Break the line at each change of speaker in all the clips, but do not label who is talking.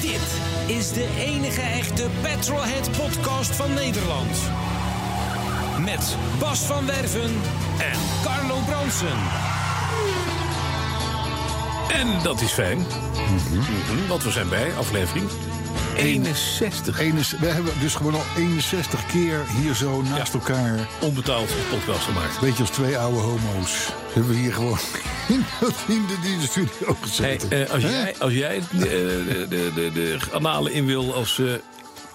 Dit is de enige echte Petrolhead podcast van Nederland. Met Bas van Werven en Carlo Bronsen.
En dat is fijn. Mhm, Want we zijn bij aflevering 61.
61, we hebben dus gewoon al 61 keer hier zo naast
Ja.
elkaar.
Onbetaald podcast gemaakt.
Beetje als twee oude homo's. Hebben we hier gewoon in de, in de, in de studio
Hey,
gezeten.
eh, als,
Hè?
jij, als jij eh, de, de, de, de analen in wil als... eh,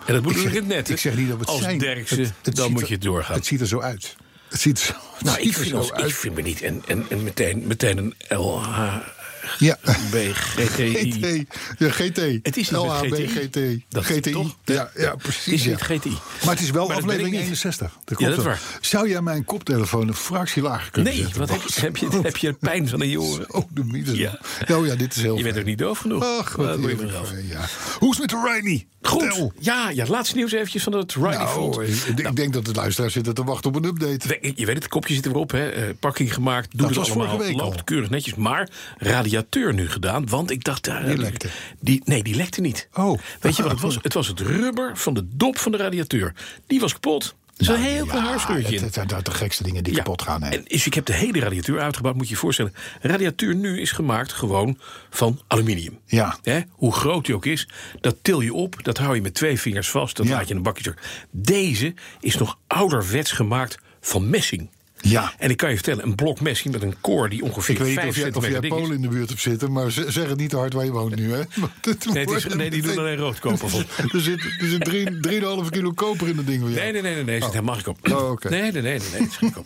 en dat moet
Ik
ik
zeg,
het net. hè?
ik zeg niet dat we het
als
zijn.
Derksen,
Het- het
dan
ziet
moet
er-
je doorgaan.
Het ziet er zo uit. Het ziet er zo, het
nou,
ziet
ik
er
vind,
zo
ons,
uit.
ik vind me niet. En, en, en meteen, meteen een LHBGTI.
Ja. GT. Ja, GT.
Het is niet met
LHB,
GTI.
GT.
Dat is
GTI.
toch?
Ja, ja,
Het is
precies.
niet
ja.
GTI.
Maar het is wel
Maar dat ben ik
aflevering
niet.
61. Dat
Ja,
klopt
dat
wel.
is waar.
Zou jij mijn koptelefoon een fractie lager kunnen
Nee,
zetten?
wat heb, je- heb, je, heb je pijn van in je oren?
Oh, de mythe.
Ja.
Oh ja, dit is heel
Je bent
fijn.
ook niet doof genoeg.
Ach,
Waar
wat
moet je
heerlijk
vanaf?
voor je, ja. Hoe is het met de Riley?
Goed.
Tel.
Ja, ja, het laatste nieuws eventjes van het Riley Front.
Nou, ik, ik denk dat de luisteraars zitten te wachten op een update.
We- Je weet het, kopje zit erop, hè? eh, pakking gemaakt, doe
Dat
het
was vorige
allemaal,
week al.
loopt keurig netjes. Maar radiateur nu gedaan, want ik dacht... eh,
Die lekte.
die- nee, die lekte niet.
Oh.
Weet je wat het was? Het was het rubber van de dop van de radiateur. Die was kapot. Er zat een heel klein haarscheurtje in.
Nou, Het zijn de gekste dingen die
Ja.
kapot gaan. Hè.
En dus ik heb de hele radiateur uitgebouwd, moet je je voorstellen. Een radiateur nu is gemaakt gewoon van aluminium.
Ja.
Hè, hoe groot die ook is, dat til je op, dat hou je met twee vingers vast, dat
Ja.
laat je in een bakje terug. Deze is nog ouderwets gemaakt van messing.
Ja.
En ik kan je vertellen, een blok messing met een koor die ongeveer
Ik weet
5
niet of jij, of
centimeter
jij
dik is.
Polen in de buurt hebt zitten, maar ze- zeg het niet te hard waar je woont nu. Hè? Want het
Nee, het is-
wordt-
nee, die doen alleen roodkoper van.
Er zit, er zit drie- 3,5 kilo koper in dat ding.
Nee, nee, nee, nee, nee, dat mag ik op.
Oh, oké.
Nee, nee, nee, nee, nee, dat is geen kop.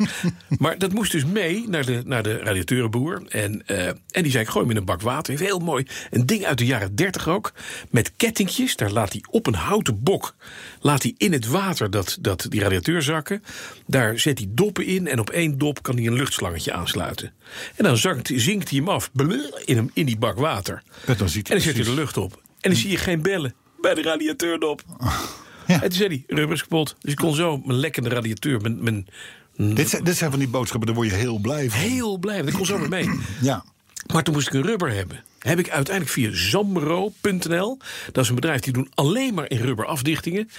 Maar dat moest dus mee naar de, naar de radiateurenboer. En, eh, en die zei, ik gooi hem in een bak water. Heeft heel mooi een ding uit de jaren 30 ook. Met kettingjes, daar laat hij op een houten bok... laat hij in het water dat, dat die radiateur zakken. Daar zet hij doppen in en op één dop kan hij een luchtslangetje aansluiten. En dan zakt, zinkt hij hem af blul, in, hem, in die bak water.
Ja, dan ziet
en
hij
dan zet hij
precies.
de lucht op. En dan zie je geen bellen bij de radiateurdop.
Ah, Ja.
En toen zei hij, rubber is kapot. Dus ik kon zo mijn lekkende radiateur, mijn, mijn
Dit, zijn, dit zijn van die boodschappen, daar word je heel blij van.
heel blij, want ik kon zo weer mee.
Ja.
Maar toen moest ik een rubber hebben. Heb ik uiteindelijk via zamro.nl, dat is een bedrijf die doen alleen maar in rubber afdichtingen.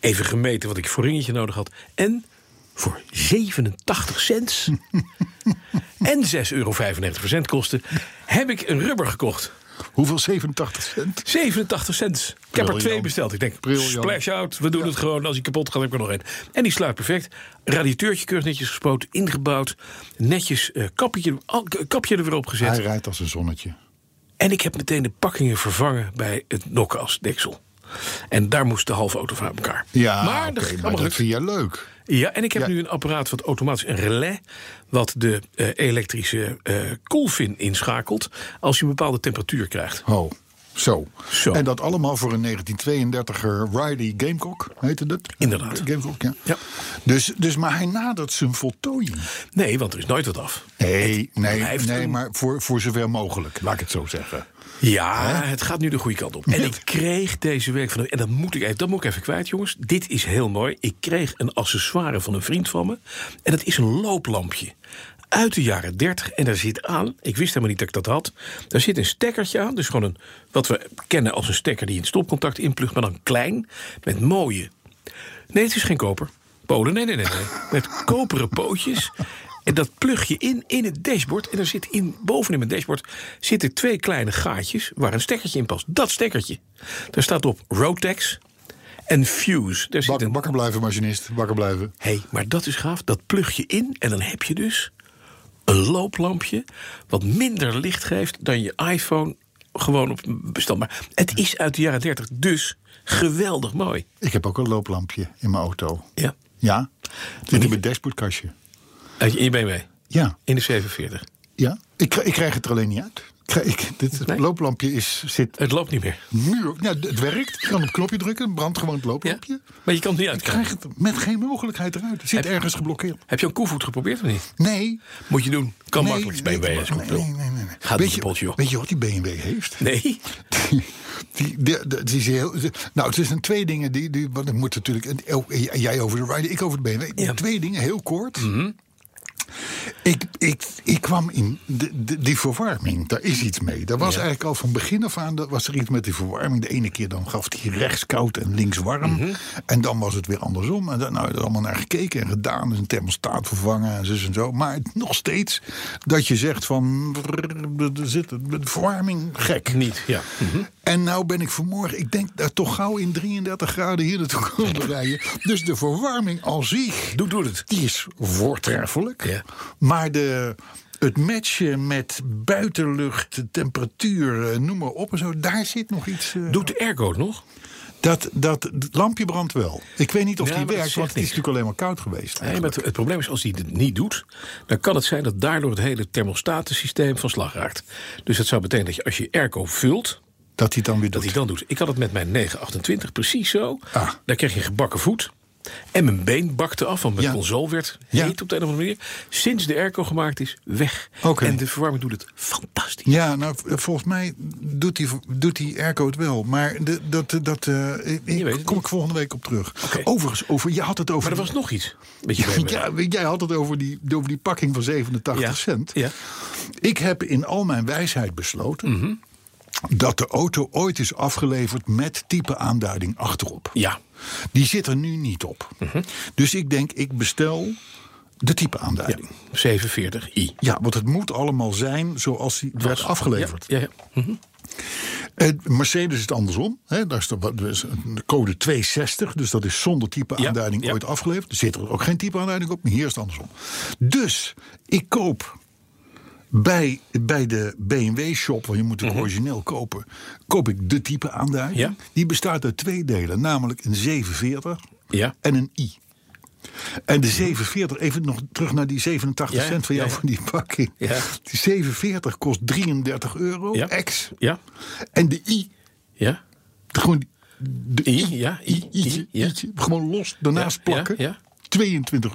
Even gemeten wat ik voor ringetje nodig had. En voor 87 cent en 6,95 euro kosten, heb ik een rubber gekocht.
Hoeveel? 87 cent?
87 cent. Ik heb er
Briljant.
twee besteld. Ik denk,
Briljant.
splash out. We doen het gewoon. Als hij kapot gaat, heb ik er nog één. En die sluit perfect. Radiateurtje keurig netjes gespoten, ingebouwd. Netjes eh, kapje, al- kapje er weer op gezet.
Hij rijdt als een zonnetje.
En ik heb meteen de pakkingen vervangen bij het nokkenasdeksel. En daar moest de halve auto van uit elkaar.
Ja,
maar, dat
oké,
ging allemaal
maar dat
gelukt.
vind jij leuk.
Ja, en ik heb
Ja.
nu een apparaat wat automatisch een relais... wat de eh, elektrische eh, koelvin inschakelt... als je een bepaalde temperatuur krijgt.
Oh, zo.
Zo.
En dat allemaal voor een 1932er Riley Gamecock, heette dat?
Inderdaad.
Gamecock, ja.
Ja.
Dus, dus, maar hij nadert zijn voltooiing.
Nee, want er is nooit wat af.
Nee, nee,
blijft
nee
een-
maar voor, voor zover mogelijk, laat ik het zo zeggen.
Ja, het gaat nu de goede kant op. En ik kreeg deze week van en dat moet ik even, dat moet ik even kwijt, jongens. Dit is heel mooi. Ik kreeg een accessoire van een vriend van me. En dat is een looplampje. Uit de jaren 30. En daar zit aan, ik wist helemaal niet dat ik dat had. Daar zit een stekkertje aan. Dus gewoon een, wat we kennen als een stekker die een stopcontact inplugt, maar dan klein. Met mooie. Nee, het is geen koper. Polen, nee, nee, nee. nee. Met koperen pootjes. En dat plug je in, in het dashboard. En er zit in, bovenin mijn dashboard zitten twee kleine gaatjes waar een stekkertje in past. Dat stekkertje. Daar staat op Rotex en Fuse. Daar zit
Bakker,
een,
bakker blijven, machinist, bakker blijven.
hey, maar dat is gaaf. Dat plug je in en dan heb je dus een looplampje wat minder licht geeft dan je iPhone gewoon op bestand. Maar het is uit de jaren 30, dus geweldig mooi.
Ik heb ook een looplampje in mijn auto.
Ja.
Ja, zit in
niet-
mijn dashboardkastje.
En je bent mee.
Ja,
In de 47.
ja. Ik, ik krijg het er alleen niet uit. Kijk, dit
Nee.
looplampje is, zit
Het loopt niet meer.
nu... op- Nou, het werkt. Je kan op een knopje drukken. brandt gewoon het
Ja?
looplampje.
Maar je kan het niet
Ik
uitkrijgen.
krijg het met geen mogelijkheid eruit. Het zit ergens geblokkeerd.
Heb je al koevoet geprobeerd of niet?
Nee.
Moet je doen. Kan
nee,
makkelijk bij
nee,
BMW.
nee,
is goed,
nee,
joh.
nee, nee, nee.
Gaat
weet,
niet kapot,
je,
joh.
weet je wat die BMW heeft?
Nee.
Die, die, die, die- die is heel, nou, het zijn twee dingen die, die want ik moet natuurlijk, en ook- en jij over de Rider, ik over de BMW.
Ja.
Twee dingen, heel kort. Ik, ik, ik kwam in de, de- die verwarming, daar is iets mee. Daar was eigenlijk al van begin af aan dat was er iets met die verwarming. De ene keer dan gaf die rechts koud en links warm. En dan was het weer andersom. En dan, nou, er allemaal naar gekeken en gedaan. Dus een thermostaat vervangen en zus en zo. Maar het- nog steeds dat je zegt van... brrr, Er zit de verwarming gek.
Niet, ja. Mhm.
En nou ben ik vanmorgen, ik denk daar toch gauw in 33 graden hier naartoe komen rijden. Dus de verwarming al zich,
Doe, doe het.
die is voortreffelijk.
Ja.
Maar de, het matchen met buitenlucht, temperatuur, eh, noem maar op en zo, daar zit nog iets. eh,
Doet de airco het nog?
dat, dat, het lampje brandt wel. Ik weet niet of
Ja,
die
maar dat
werkt,
zegt
want het is
niks.
natuurlijk alleen maar koud geweest.
Nee, maar het, het probleem is, als hij het niet doet... dan kan het zijn dat daardoor het hele thermostatensysteem van slag raakt. Dus dat zou betekenen dat je als je airco vult...
Dat hij het dan weer
dat
doet.
hij dan doet. Ik had het met mijn 928 precies zo.
Ah.
Daar kreeg je gebakken voet. En mijn been bakte af, want mijn
Ja.
console werd
Ja.
heet op de een of andere manier. Sinds de airco gemaakt is, weg.
Oké.
En de verwarming doet het fantastisch.
Ja, nou, v- volgens mij doet die, doet die airco het wel. Maar de, dat, dat, eh, ik-
weet het
ik, kom
niet.
ik volgende week op terug.
Oké.
Overigens, over, je had het over...
Maar er was nog iets. Weet je, bij
ja, jij had het over die, over die pakking van 87
me. ja.
cent.
Ja.
Ik heb in al mijn wijsheid besloten...
Mhm.
dat de auto ooit is afgeleverd met type aanduiding achterop.
ja. Mhm.
Die zit er nu niet op. Dus ik denk, ik bestel de type
Ja.
aanduiding. Ja.
47i.
want het moet allemaal zijn zoals die werd afgeleverd.
Ja, ja, ja.
Eh, Mercedes is het andersom. Hè? Daar is de, wat- dus een code 260, dus dat is zonder type
Ja,
aanduiding
ja.
ooit afgeleverd. Er zit er ook geen type aanduiding op, maar hier is het andersom. Dus ik koop bij, bij de BMW-shop, want je moet het origineel kopen, koop ik de type aanduiding.
Mhm. Ja.
Die bestaat uit twee delen, namelijk een 740
Ja.
en een i. En de 740, even nog terug naar die 87
Ja,
cent van
ja,
jou
ja.
voor die pakking.
Ja.
Die 740 kost 33 euro,
Ja.
ex.
Ja.
En de i,
Ja.
gewoon de
I, ja, I,
i, ietje,
I, ja.
ietje, gewoon los daarnaast
Ja, ja,
plakken.
ja.
22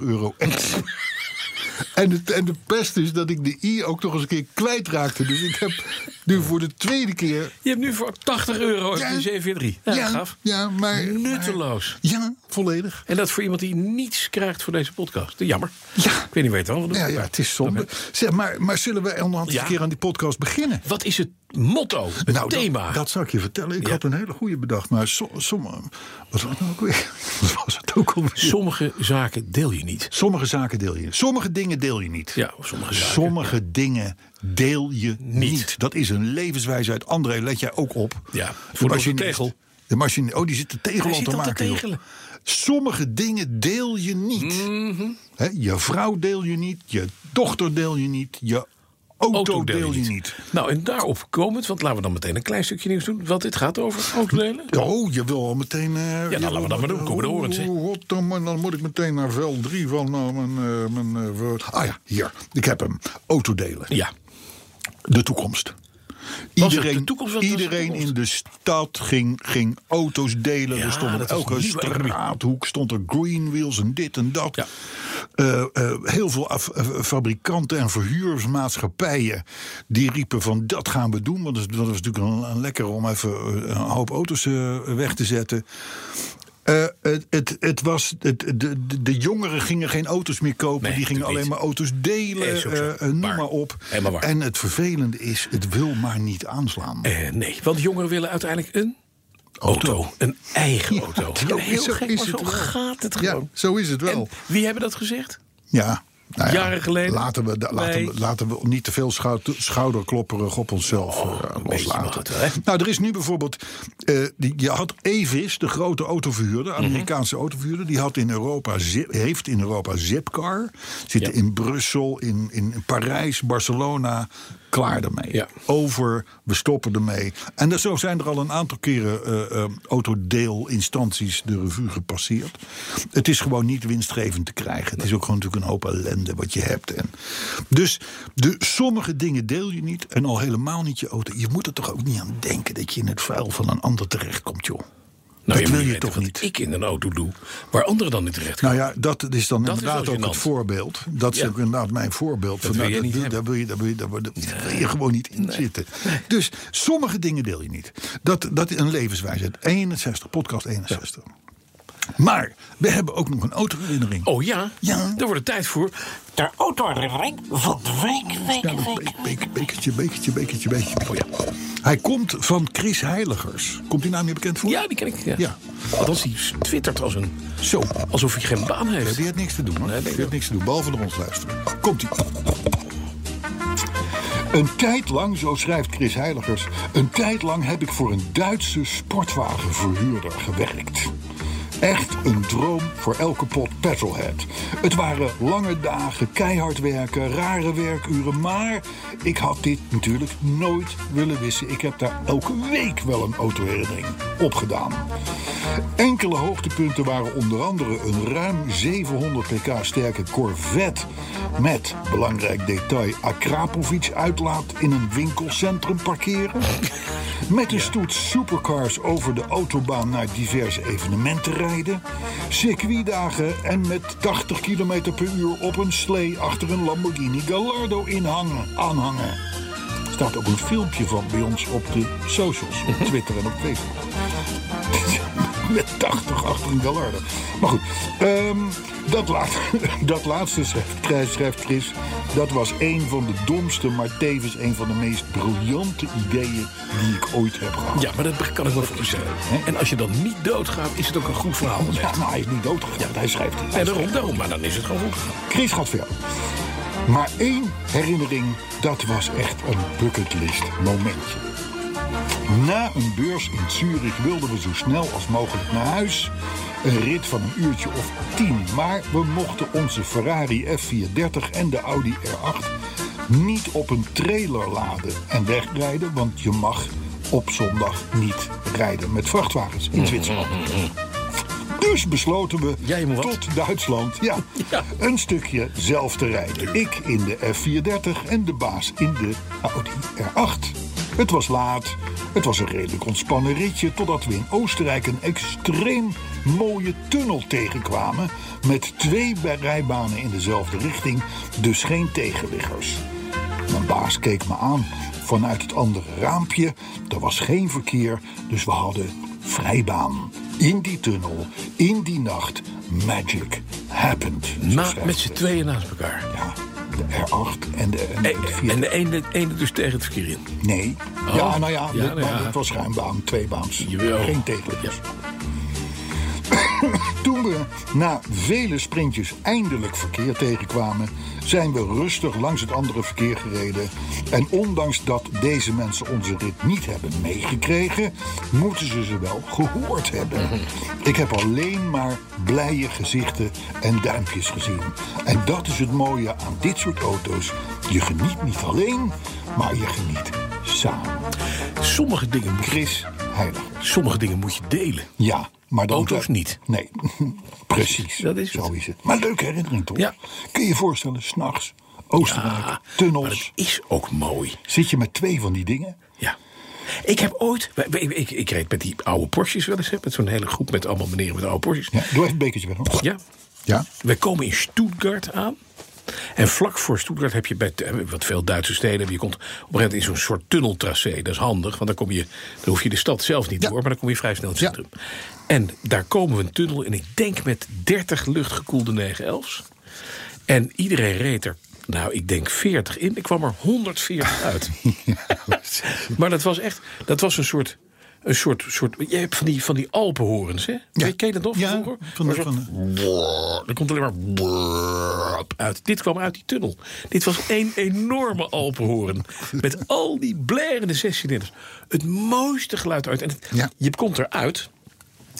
euro ex. En, het, en de pest is dat ik de i ook nog eens een keer kwijtraakte. Dus ik heb nu voor de tweede keer...
Je hebt nu voor 80 euro
Ja.
een 743. Ja, gaaf.
ja, maar...
Nutteloos.
maar- ja, volledig.
En dat voor iemand die niets krijgt voor deze podcast. Jammer.
Ja.
Ik weet niet waar je het aan wil doen.
Ja, ja, het is zonde. Zeg, maar, maar zullen we onderhand
Ja.
een keer aan die podcast beginnen?
Wat is het motto, het
nou, dat-
thema?
Dat, zou ik je vertellen. Ik
Ja.
had een hele goede bedacht. Maar so- sommige... Wat was het nou ook weer? Wat was het ook alweer?
Sommige zaken deel je niet.
Sommige zaken deel je. Sommige dingen deel je niet.
Ja, of sommige zaken.
Sommige dingen deel je niet.
Niet.
Dat is een levenswijze uit André, let jij ook op.
Ja,
De
voor de
machinist.
tegel.
De machine, oh, die zit de tegel
Hij
al
zit
te
al te
maken. joh.
tegelen.
Sommige dingen deel je niet.
Mhm.
Hè, je vrouw deel je niet, je dochter deel je niet, je auto, deel, je niet.
Nou, en daarop komend, want laten we dan meteen een klein stukje nieuws doen. Want dit gaat over autodelen.
Oh, je wil al meteen... eh, ja,
nou, laten we dat maar doen. Kom maar door, zeg.
oh, wat dan, maar dan moet ik meteen naar veld 3 van nou, mijn... eh, mijn eh, woord. ah ja, hier. Ik heb hem. Autodelen.
Ja.
De toekomst.
het
Iedereen,
de toekomst? Wat was de
iedereen
toekomst?
in de stad ging, ging auto's delen.
Ja,
er stond op
dat was
elke
een nieuwe economie.
straathoek stond er green wheels en dit en dat.
Ja.
Eh, eh, heel veel af- eh, fabrikanten en verhuursmaatschappijen die riepen van dat gaan we doen. Want dat is, dat is natuurlijk een, een lekker om even eh, een hoop auto's eh, weg te zetten. Eh, het, het, het was, het, de, de, de jongeren gingen geen auto's meer kopen.
Nee,
die gingen alleen
natuurlijk
maar auto's delen.
Is ook zo.
eh, eh, noem
Waar.
maar op.
Helemaal waar.
En het vervelende is, het wil maar niet aanslaan.
Eh, nee, want jongeren willen uiteindelijk een auto. Een eigen auto.
zo
Ja, heel
is- zo
gek,
is
maar zo
het wel.
gaat het
Ja,
gewoon.
zo is het wel.
En wie hebben dat gezegd?
Ja. nou ja,
Jaren geleden.
Laten we, da- laten,
Bij-
we, laten we niet te veel schout- schouderklopperig op onszelf eh,
Oh, beetje mag het
loslaten.
wel, hè?
nou, er is nu bijvoorbeeld. eh, die, je had Evis, de grote autoverhuurder,
Mhm.
Amerikaanse autoverhuurder. Die had in Europa, Zip- heeft in Europa Zipcar. Zit in Brussel, in, in Parijs, Barcelona, klaar ermee.
Ja.
Over, we stoppen ermee. En dus zo zijn er al een aantal keren eh, eh, autodeelinstanties de revue gepasseerd. Het is gewoon niet winstgevend te krijgen. Het is ook gewoon natuurlijk een hoop ellende wat je hebt. En dus de, sommige dingen deel je niet en al helemaal niet je auto. Je moet er toch ook niet aan denken dat je in het vuil van een ander terechtkomt, joh. dat
Nou, moet
wil je
weten
toch
wat
niet.
Ik in een auto doe, waar anderen dan niet terecht
Nou ja, dat is dan
Dat is
inderdaad
wel
ook het
gênant.
voorbeeld. Dat is
Ja.
ook inderdaad mijn voorbeeld.
Dat
Van,
wil
nou,
je niet
daar wil je, daar wil je, daar wil je, daar wil je gewoon niet in zitten. Dus sommige dingen deel je niet. Dat, dat is een levenswijze. 61, podcast 61. Maar we hebben ook nog een autoherinnering.
Oh ja?
Ja.
Daar wordt het tijd voor.
De autoherinnering van de week, week,
Ja,
week.
be- be- bekertje, bekertje, bekertje, bekertje. Oh ja. Hij komt van Chris Heiligers. Komt die naam je bekend voor?
Ja, die ken ik. Ja.
Ja.
Althans, die twittert als een,
Zo.
alsof hij geen baan heeft.
Die had niks te doen, hoor.
Nee, nee,
die had niks te doen, behalve naar ons luisteren. Komt-ie. Een tijd lang, zo schrijft Chris Heiligers... een tijd lang heb ik voor een Duitse sportwagenverhuurder gewerkt. Echt een droom voor elke pot petrolhead. Het waren lange dagen, keihard werken, rare werkuren... maar ik had dit natuurlijk nooit willen wissen. Ik heb daar elke week wel een autoherinnering op gedaan. Enkele hoogtepunten waren onder andere een ruim 700 pk sterke Corvette met, belangrijk detail, Akrapovic uitlaat in een winkelcentrum parkeren. Met een stoet supercars over de autobaan naar diverse evenementen rijden. Circuitdagen en met 80 km per uur op een slee achter een Lamborghini Gallardo inhangen, aanhangen. Er staat ook een filmpje van bij ons op de socials,
Mhm.
op Twitter en op Facebook. Met 80 achter een Gallardo. Maar goed, ehm, dat, laat, dat laatste schrijft, schrijft Chris. Dat was een van de domste, maar tevens een van de meest briljante ideeën die ik ooit heb gehad.
Ja, maar dat kan ik wel voorstellen. En als je dan niet doodgaat, is het ook een goed verhaal.
Ja, maar hij is niet doodgegaan. Hij schrijft het.
En daarom, daarom, maar dan is het gewoon goed gegaan.
Chris gaat verder. Maar één herinnering, dat was echt een bucketlist momentje. Na een beurs in Zurich wilden we zo snel als mogelijk naar huis. Een rit van een uurtje of tien. Maar we mochten onze Ferrari F430 en de Audi R8 niet op een trailer laden en wegrijden. Want je mag op zondag niet rijden met vrachtwagens in Zwitserland. Dus besloten we
Jij moet wat.
tot Duitsland ja, een stukje zelf te rijden. Ik in de F430 en de baas in de Audi R8. Het was laat. Het was een redelijk ontspannen ritje totdat we in Oostenrijk een extreem mooie tunnel tegenkwamen met twee rijbanen in dezelfde richting, dus geen tegenliggers. Mijn baas keek me aan vanuit het andere raampje. Er was geen verkeer, dus we hadden vrijbaan. In die tunnel, in die nacht, magic happened. zo
Na,
schrijft
met z'n
hij.
tweeën naast elkaar.
Ja, de R8 en de, en de
En,
vier-
en de ene, ene dus tegen het verkeer in.
Nee. Ja, nou ja,
Ja,
dit-
nou
maar
ja.
het was ruimbaan, tweebaans.
Jawel.
Geen tegenliggers. Toen we na vele sprintjes eindelijk verkeer tegenkwamen, zijn we rustig langs het andere verkeer gereden. En ondanks dat deze mensen onze rit niet hebben meegekregen, moeten ze ze wel gehoord hebben. Ik heb alleen maar blije gezichten en duimpjes gezien. En dat is het mooie aan dit soort auto's. Je geniet niet alleen, maar je geniet samen.
Sommige dingen, moet-
Chris Heilig.
sommige dingen moet je delen.
Ja, maar dan
Auto's niet.
Nee, precies.
Dat is het.
Zo is het. Maar leuke herinnering toch?
Ja.
Kun je je voorstellen, s'nachts, Oostenrijk,
Ah, Maar
tunnels.
dat is ook mooi.
Zit je met twee van die dingen?
Ja. Ik heb ooit. wij- wij- Ik, ik, reed met die oude Porsches wel eens. Hè, met zo'n hele groep met allemaal meneer met oude Porsches.
Ja, doe even een bekertje weg. hoor.
Ja.
Ja.
We komen in Stuttgart aan. En vlak voor Stuttgart heb je bij eh, wat veel Duitse steden. heb Je komt op een gegeven moment in zo'n soort tunneltracé. Dat is handig, want dan, kom je, dan hoef je de stad zelf niet
Ja.
door, maar dan kom je vrij snel in het
Ja.
centrum. En daar komen we een tunnel in, ik denk met 30 luchtgekoelde 911's. En iedereen reed er, nou, ik denk 40 in. Ik kwam er 140 uit. maar dat was echt, dat was een soort. Een soort, soort. Je hebt van die, van die Alpenhorens, hè? Ken je dat nog? van
Ja,
vroeger?
van
Maar
de-
zo-
van de-
er komt alleen maar brrrp uit. Dit kwam uit die tunnel. Dit was één enorme Alpenhoorn. Met al die blerende zescilinders. Het mooiste geluid uit. En het-
Ja.
je komt eruit.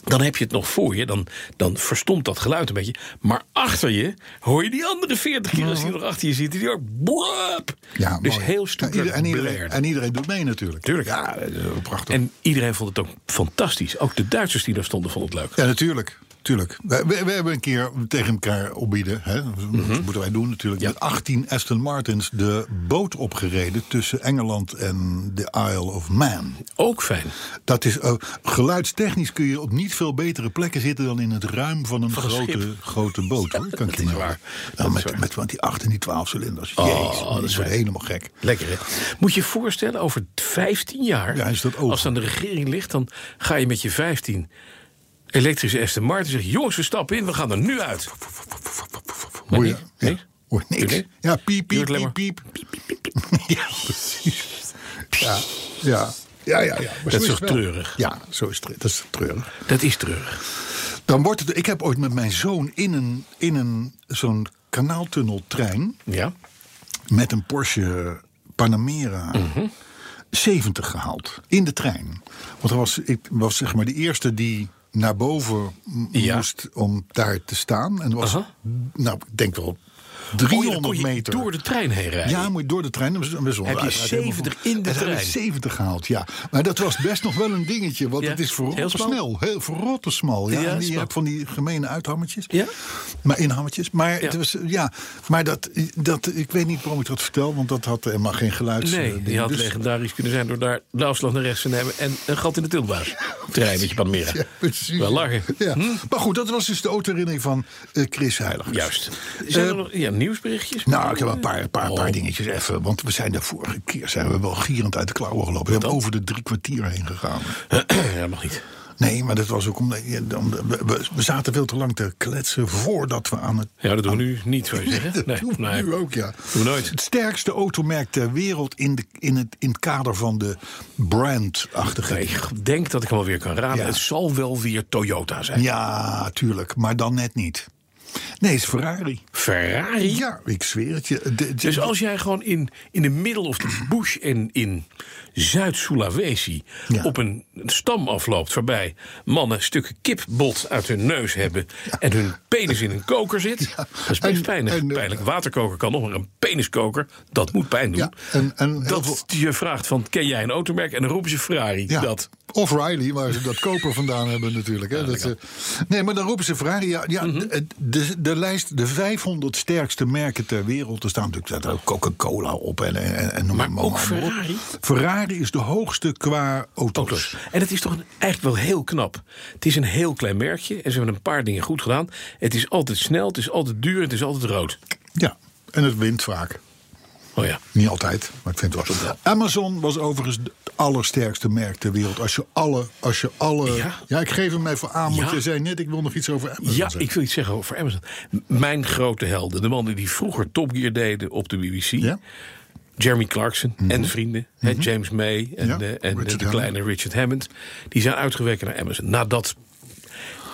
Dan heb je het nog voor je, dan, dan verstomt dat geluid een beetje. Maar achter je hoor je die andere 40 kilo's die nog achter je zitten, die ook blop.
Mhm. Ja,
dus
mooi.
heel stoer.
En ieder- en, iedereen,
blerd.
en iedereen doet mee natuurlijk.
Tuurlijk.
Ja, dat is ook prachtig.
En iedereen vond het ook fantastisch. Ook de Duitsers die daar stonden vonden het leuk.
Ja, natuurlijk. Tuurlijk. We, we, we hebben een keer tegen elkaar opbieden. Hè? Dat
Mhm.
moeten wij doen natuurlijk. Met 18 Aston Martins de boot opgereden tussen Engeland en de Isle of Man.
Ook fijn.
Dat is, eh, geluidstechnisch kun je op niet veel betere plekken zitten dan in het ruim van een,
een
grote,
schip.
grote boot. Hoor. Kan ik je
is
nou-
waar.
Nou,
Dat is
met,
waar.
met want die 8 en die 12 cilinders.
Oh,
Jezus,
dat
dat
is
is
waar.
helemaal gek.
Lekker hè? Moet je je voorstellen, over 15 jaar,
Ja, is dat over.
als het aan de regering ligt, dan ga je met je 15 elektrische Aston Martin zeggen: jongens, we stappen in, we gaan er nu uit. Maar
Hoor je?
niet?
Ja.
Nee?
Hoor je niks.
Tuurlijk.
Ja, piep,
Je
piep,
hoort alleen
piep, piep. Ja, precies. Ja, ja. Ja, ja, ja. Maar zo
is toch
het wel.
treurig?
Ja, zo is het, tre- dat is treurig.
Dat is treurig.
Dan wordt het, ik heb ooit met mijn zoon in een, in een zo'n kanaaltunneltrein
Ja? Oh,
met een Porsche Panamera 70 gehaald in de trein. Want er was, ik was zeg maar de eerste die naar boven m-
Ja.
moest om daar te staan. En er was,
Aha.
nou, ik denk wel
Oh, ja, dan
300
kon je
meter.
door de trein heen rijden.
Ja, moet je door de trein. Dan is
Heb je 70 in de trein?
70 gehaald, ja. Maar dat was best nog wel een dingetje, want
Ja,
het is verrotte
heel smal.
snel. Heel verrotte smal, ja.
Ja,
en
smal.
die hebt van die gemene uithammetjes.
Ja.
Maar inhammetjes. Maar,
Ja.
het was, eh, ja, maar dat, eh, dat, ik weet niet waarom ik dat vertel, want dat had helemaal geen geluids. eh,
Nee,
ding.
die had
Dus-
legendarisch kunnen zijn door daar de afslag naar rechts te nemen en een gat in de tilbaas. Trein met je Panamera.
Ja, precies.
Wel lachen.
Ja. Maar goed, dat was dus de auto-herinnering van eh, Chris Heiligers.
Juist. Zijn er
Eh,
nog ja, nieuwsberichtjes?
Nou, ik heb een paar, een paar, een
Oh.
paar dingetjes even. Want we zijn de vorige keer zijn we wel gierend uit de klauwen gelopen. We hebben over de drie kwartier heen gegaan.
ja, dat mag niet.
Nee, maar dat was ook omdat... ja, dan- we- we, we zaten veel te lang te kletsen voordat we aan het...
Ja, dat doen we nu niet, zou je zeggen.
Dat
Nee,
doen we
nee.
nu ook, ja.
Doen we nooit.
Het sterkste automerk ter wereld in, de, in, het, in het kader van de brand-achtige...
Nee, ik denk dat ik hem alweer kan raden.
Ja.
Het zal wel weer Toyota zijn.
Ja, tuurlijk, maar dan net niet. Nee, het is Ferrari.
Ferrari?
Ja, ik zweer het je. De- de-
Dus als jij gewoon in, in de middel of de bush en in Zuid-Sulawesi
Ja.
op een stam afloopt waarbij mannen stukken kipbot uit hun neus hebben en hun penis in een koker zit, dat is best
en-
pijnlijk.
en, eh,
pijnlijk. Waterkoker kan nog, maar een peniskoker, dat moet pijn doen.
Ja, en- en heel
dat
veel-
je vraagt van ken jij een automerk en dan roepen ze Ferrari.
Ja.
Dat.
Of Riley, waar ze dat koper vandaan hebben natuurlijk. Hè? dat ze- nee, maar dan roepen ze Ferrari. Ja, ja
Mhm.
de, de, de lijst, de 500 sterkste merken ter wereld. Er staan natuurlijk daar ook Coca-Cola op en, en, en- en noem
Maar
maar
ook
maar op.
Ferrari?
Ferrari is de hoogste qua auto's.
auto's. En dat is toch een- eigenlijk wel heel knap. Het is een heel klein merkje en ze hebben een paar dingen goed gedaan. Het is altijd snel, het is altijd duur, het is altijd rood.
Ja, en het wint vaak.
Oh ja.
Niet altijd, maar ik vind het wel zo. Amazon was overigens het allersterkste merk ter wereld. Als je alle... Als je alle
Ja.
ja. ik geef hem even aan, want
Ja.
je zei net... ik wil nog iets over Amazon
Ja,
zeggen.
ik wil iets zeggen over Amazon. M- Mijn grote helden, de mannen die vroeger Top Gear deden op de BBC.
Ja? Mhm.
Jeremy Clarkson en vrienden, hè, James May en,
Ja,
eh, en
Richard
de kleine Richard Hammond. Die zijn uitgeweken naar Amazon. Nadat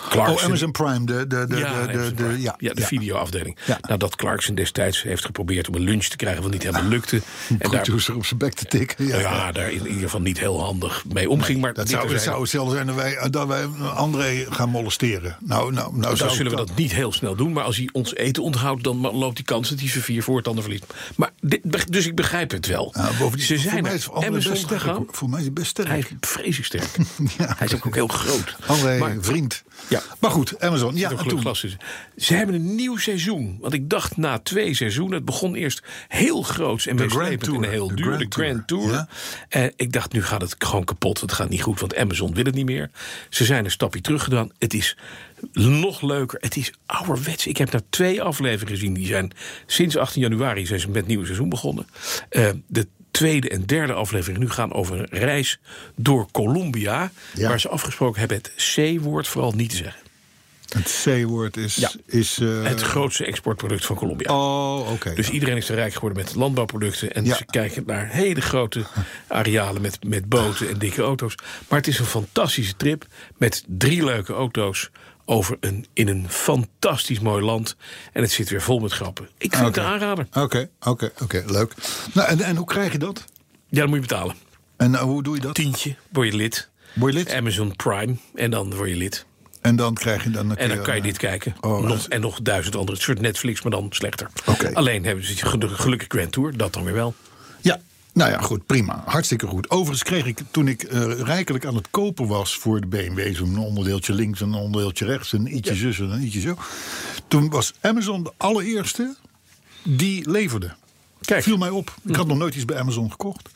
Clarkson...
Oh, Amazon Prime, de... de, de,
ja,
de, de,
Amazon
de-
Prime.
ja,
Ja, de videoafdeling.
Ja.
Nadat Clarkson destijds heeft geprobeerd om een lunch te krijgen... wat niet helemaal lukte. En daar,
producer op zijn bek te tikken. Ja,
nou ja, daar in ieder geval niet heel handig mee omging. maar
Dat
dit
zou, het
terzijde.
zou hetzelfde zijn dat wij, eh, dat wij André gaan molesteren. Nou, nou, nou
Dan
zou
zullen we
ik
dat niet heel snel doen. Maar als hij ons eten onthoudt, dan ma- loopt die kans dat hij zijn vier voortanden verliest. Maar dit, beg- dus ik begrijp het wel.
Ja, bovendien,
Ze
voor
zijn
mij
naar
is André
Amazon
best sterk.
gegaan.
hoor. Voor mij is hij best sterk.
Hij is vreselijk sterk.
Ja.
Hij is ook, ook heel groot.
André,
Maar-
vriend.
Ja.
Maar goed, Amazon. Ja,
Door
en
geluk
toen.
glas is. Ze hebben een nieuw seizoen. Want ik dacht na twee seizoenen. Het begon eerst heel groots en meeslepend
Grand
en
Tour.
heel
De
duur. De
Grand
Grand
Tour,
Tour.
ja.
En ik dacht, nu gaat het gewoon kapot. Het gaat niet goed, want Amazon wil het niet meer. Ze zijn een stapje terug gedaan. Het is nog leuker. Het is ouderwets. Ik heb daar twee afleveringen gezien. Die zijn sinds 18 januari zijn ze met het nieuwe seizoen begonnen. Eh, de tweede en derde aflevering nu gaan over een reis door Colombia.
Ja.
Waar ze afgesproken hebben het C-woord vooral niet te zeggen.
Het C-woord is...
Ja.
is eh,
Het grootste exportproduct van Colombia.
oh, oké.
Dus
ja.
iedereen is te rijk geworden met landbouwproducten. En
Ja.
ze kijken naar hele grote arealen met, met boten en dikke auto's. Maar het is een fantastische trip met drie leuke auto's. Over een, in een fantastisch mooi land. En het zit weer vol met grappen. Ik vind het een
Oké.
aanrader.
Oké, oké, oké, leuk. Nou, en, en hoe krijg je dat?
Ja, dan moet je betalen.
En nou, hoe doe je dat?
Tientje, word je lid.
Word je lid?
Amazon Prime. En dan word je lid.
En dan krijg je dan... een
En dan
keer,
kan je
eh,
dit kijken.
Oh,
nog,
dat-
en nog duizend andere. Het soort Netflix, maar dan slechter.
Oké.
Alleen hebben ze gelu- gelukkig Grand Tour. Dat dan weer wel.
Ja, nou ja, goed, prima. Hartstikke goed. Overigens kreeg ik, toen ik eh, rijkelijk aan het kopen was voor de BMW... zo'n onderdeeltje links en een onderdeeltje rechts... en ietsje zus en een ietsje zo... toen was Amazon de allereerste die leverde.
Kijk. Hm.
Viel mij op. Ik had nog nooit iets bij Amazon gekocht.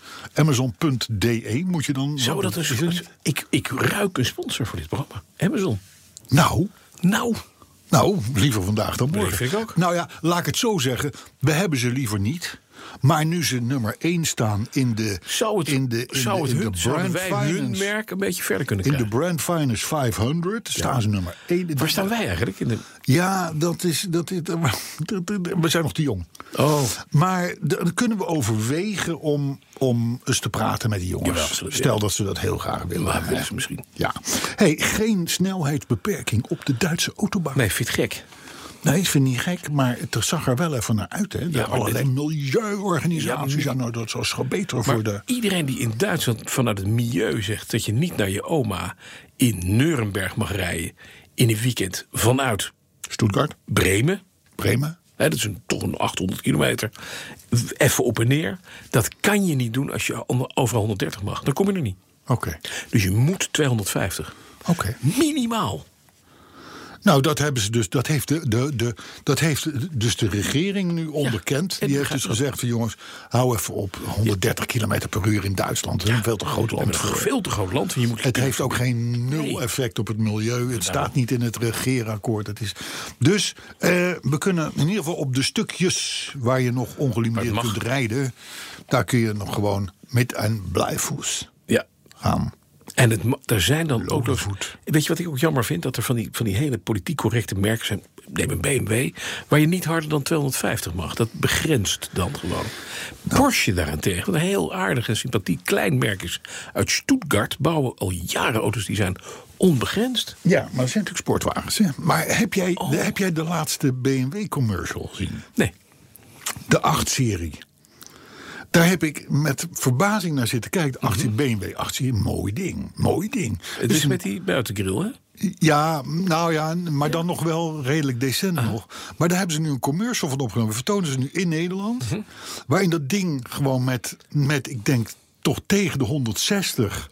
Amazon.de E moet je dan...
Zou dat een
is
soort... Ik, ik ruik een sponsor voor dit programma. Amazon.
Nou,
Nou,
Nou, liever vandaag dan morgen.
Nee, vind ik ook.
Nou ja, laat ik het zo zeggen. We hebben ze liever niet. Maar nu ze nummer 1 staan in de.
zou het,
in de, in
zou
de,
het
in
hun,
de
zouden
brand
wij hun
finance,
merk een beetje verder kunnen
in de
krijgen?
Brand Finance 500 staan ze nummer 1.
Waar staan wij eigenlijk? In de,
Ja, dat is, dat is, dat- dat- we zijn nog te jong.
oh,
Maar de- dan kunnen we overwegen om, om eens te praten met die jongens.
Jawel, absoluut,
Stel
ja.
dat ze dat heel graag willen.
maar willen
hè.
ze dus misschien.
Ja. Hey, geen snelheidsbeperking op de Duitse autobahn.
Nee, vind je het gek.
Nee, ik vind het niet gek, maar het zag er wel even naar uit. Hè? De
Ja, maar
allerlei
dit-
milieuorganisaties. Ja, nou, dat was gewoon beter voor de...
Maar iedereen die in Duitsland vanuit het milieu zegt dat je niet naar je oma in Nuremberg mag rijden in een weekend vanuit
Stuttgart,
Bremen,
Bremen.
hè, dat is een, toch een 800 kilometer, w- even op en neer, dat kan je niet doen als je onder- overal 130 mag. Dan kom je er niet.
Oké,
Dus je moet 250.
oké.
Minimaal.
Nou, dat hebben ze dus. Dat heeft de, de, de, dat heeft dus de regering nu onderkend.
en
Die heeft
gaat
dus
dat-
gezegd: van, jongens, hou even op 130 km per uur in Duitsland. We hebben een veel te groot land.
Een
voor.
veel te groot land. en Je moet
Het heeft ook geen nul effect op het milieu. Het staat niet in het regeerakkoord. Het is... Dus eh, we kunnen in ieder geval op de stukjes waar je nog ongelimiteerd
Waar het mag.
kunt rijden, daar kun je nog gewoon met een blijvoes
ja.
gaan.
En het, ma- er zijn dan ook nog...
Lodevoet.
Weet je wat ik ook jammer vind? Dat er van die, van die hele politiek correcte merken zijn... neem een BMW, waar je niet harder dan 250 mag. Dat begrenst dan gewoon.
Nou.
Porsche daarentegen, wat een heel aardig en sympathiek klein merk is... uit Stuttgart bouwen al jaren auto's die zijn onbegrensd.
Ja, maar dat zijn natuurlijk sportwagens. Hè? Maar heb jij, de, heb jij de laatste BMW-commercial gezien?
Oh. Nee,
De 8-serie. Daar heb ik met verbazing naar zitten kijken. De 8-serie, BMW 8-serie, mooi ding. Mooi ding.
Mhm. het
Dus
is met die buitengril, hè?
Ja, nou ja, maar dan nog wel redelijk decent nog. Maar daar hebben ze nu een commercial van opgenomen. Vertonen ze nu in Nederland.
Mhm.
Waarin dat ding gewoon met, met ik denk toch tegen de 160...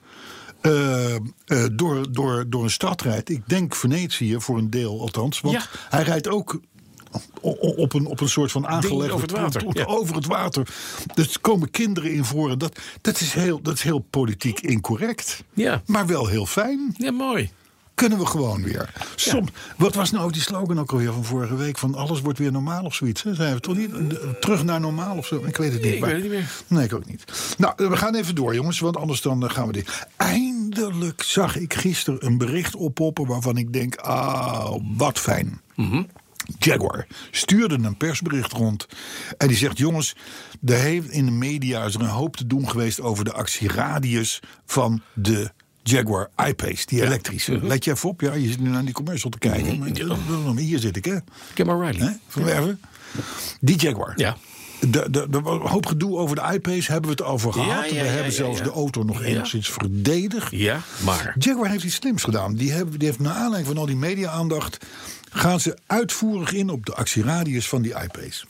eh, eh, door, door, door een stad rijdt. Ik denk Venetië voor een deel althans. Want
Ja.
hij rijdt ook o- o- op een, op een soort van aangelegde...
over het water,
pont-
ja.
Over het water. Dus er komen kinderen in voor. En dat, dat, is heel, dat is heel politiek incorrect.
Ja.
Maar wel heel fijn
Ja, mooi.
kunnen we gewoon weer. Soms, Wat was nou die slogan ook alweer van vorige week? Van alles wordt weer normaal of zoiets. Hè? Zijn we toch niet eh, terug naar normaal of zo? Ik weet het niet.
ik
maar-
weet het niet meer.
Nee, ik ook niet. Nou, eh, we gaan even door, jongens, want anders dan eh, gaan we dit. Eindelijk zag ik gisteren een bericht oppoppen waarvan ik denk: ah, wat fijn. Jaguar stuurde een persbericht rond. En die zegt: Jongens, er heeft in de media is er een hoop te doen geweest over de actieradius van de Jaguar I-Pace, die elektrische. Let je even op, ja, je zit nu naar die commercial te kijken. Maar hier zit ik, hè?
Gemma Riley.
Hè? Van Werven. Die Jaguar.
Ja.
De, de, de hoop gedoe over de I-Pace hebben we het over
Ja,
gehad.
ja,
we
ja,
hebben
ja,
zelfs
ja.
de auto nog
Ja.
enigszins verdedigd.
Ja, maar...
Jaguar heeft iets slims gedaan. Die, hebben, die heeft naar aanleiding van al die media-aandacht... gaan ze uitvoerig in op de actieradius van die iPace.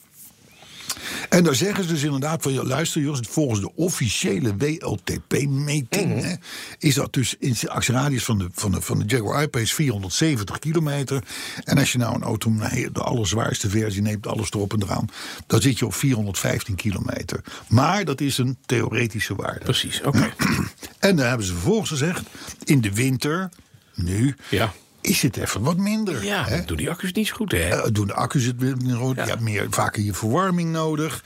En daar zeggen ze dus inderdaad van... ja, luister jongens, volgens de officiële WLTP-meting...
Mhm.
hè, is dat dus in de actieradius van de, van de, van de Jaguar I-Pace 470 kilometer. En als je nou een auto, nee, de allerzwaarste versie neemt... alles erop en eraan, dan zit je op 415 kilometer. Maar dat is een theoretische waarde.
Precies, oké.
En dan hebben ze vervolgens gezegd: in de winter, nu,
Ja.
is het even wat minder.
Ja,
hè?
doen die accu's niet zo goed, hè?
Eh, doen de accu's het weer minder goed?
Ja.
Je hebt meer, vaker je verwarming nodig.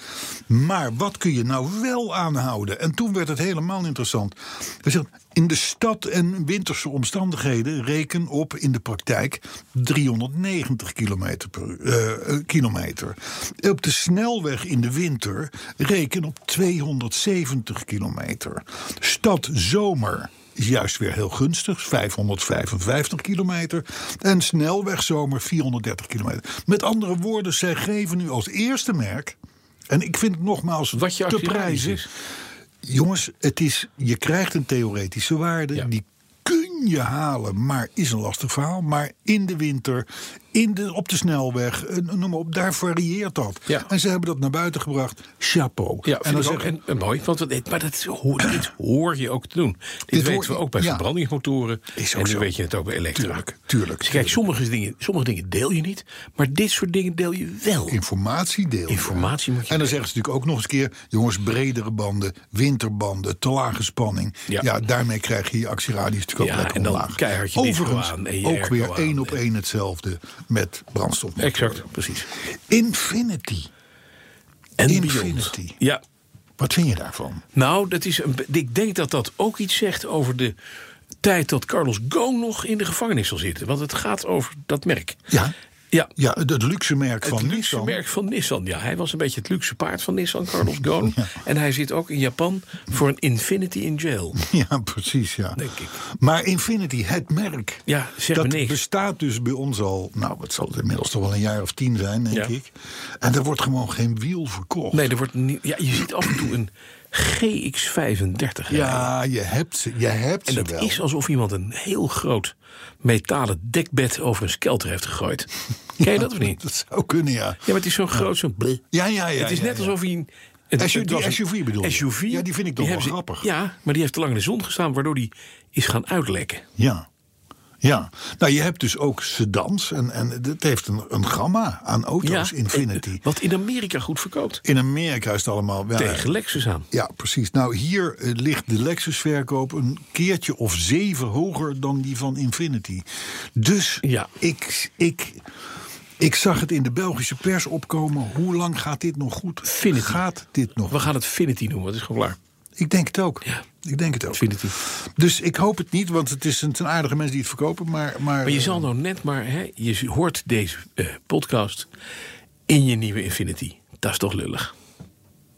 Maar wat kun je nou wel aanhouden? En toen werd het helemaal interessant. Hij zegt, in de stad en winterse omstandigheden reken op in de praktijk 390 kilometer per uur, eh, eh, kilometer. Op de snelweg in de winter reken op 270 kilometer. Stad zomer is juist weer heel gunstig, 555 kilometer. En snelwegzomer 430 kilometer. Met andere woorden, zij geven nu als eerste merk. En ik vind het nogmaals
Wat je
te
actieradius
prijzen.
is.
Jongens, het is, je krijgt een theoretische waarde.
Ja.
Die kun kun je halen, maar is een lastig verhaal. Maar in de winter, in de, op de snelweg, eh, noem maar op, daar varieert dat.
Ja.
En ze hebben dat naar buiten gebracht. Chapeau.
Ja,
en
en dat
zeg
ook en, en mooi. Want, we- dit- maar dat is- hoor, dit hoor je ook te doen. Dit,
Dit
weten
hoor
we
je-
ook bij
ja.
verbrandingsmotoren.
Is ook
en nu
zo.
weet je het ook bij elektra.
Tuurlijk, tuurlijk,
Dus kijk, sommige dingen, sommige dingen deel je niet. Maar dit soort dingen deel je wel.
Informatie deel. je.
Informatie moet je
En dan zeggen ze natuurlijk ook nog eens een keer: jongens, bredere banden, winterbanden, te lage spanning.
Ja.
Ja, daarmee krijg je je actieradius natuurlijk ook
Ja,
lekker
en dan
omlaag.
keihard je disco
Overigens
aan en je
ook
airco
weer
aan.
één op één hetzelfde met brandstof.
Exact, precies.
Infinity.
En
Infinity.
Beyond. Ja,
Wat vind je daarvan?
Nou, dat is een, be- ik denk dat dat ook iets zegt over de tijd dat Carlos Ghosn nog in de gevangenis zal zitten. Want het gaat over dat merk.
Ja.
Ja,
Ja, het het luxe merk van
het luxe
Nissan.
merk van Nissan. Ja, hij was een beetje het luxe paard van Nissan, Carlos Ghosn. En hij zit ook in Japan voor een Infinity in jail.
Ja, precies, ja.
Denk ik.
Maar Infinity, het merk.
Ja, zeg
dat
me niks.
bestaat dus bij ons al, nou, het zal inmiddels toch wel een jaar of tien zijn, denk
Ja.
ik. En er wordt gewoon geen wiel verkocht.
Nee, er wordt niet, ja, je ziet af en toe een GX35 rijden.
Ja, je hebt ze, je hebt
En
ze
dat
wel.
is alsof iemand een heel groot metalen dekbed over een skelter heeft gegooid. Ken je dat of niet?
Dat zou kunnen, ja.
Ja, maar het is zo'n groot, zo'n bleh.
Ja, ja, ja.
het is
ja,
net
ja.
alsof hij... een- Het,
SUV
het was een
SUV bedoel je?
SUV.
Ja, die vind ik toch wel
hebben ze-
grappig.
Ja, maar die heeft te lang in de zon gestaan, waardoor die is gaan uitlekken.
Ja. Ja, nou je hebt dus ook sedans en, en het heeft een, een gamma aan auto's,
ja,
Infinity.
eh, Wat in Amerika goed verkoopt.
In Amerika is het allemaal... Ja,
Tegen Lexus aan.
Ja, precies. Nou, hier eh, ligt de Lexus-verkoop een keertje of zeven hoger dan die van Infinity. Dus
Ja.
ik, ik, ik zag het in de Belgische pers opkomen. Hoe lang gaat dit nog goed?
Infinity.
Gaat dit nog
We gaan het Finity noemen, dat is gewoon klaar.
Ik denk het ook.
Ja.
Ik denk het ook.
Infinity.
Dus ik hoop het niet, want het is een ten aardige mensen die het verkopen. Maar, maar,
Maar je
eh,
zal nou net maar... Hè, je hoort deze eh, podcast in je nieuwe Infinity. Dat is toch lullig.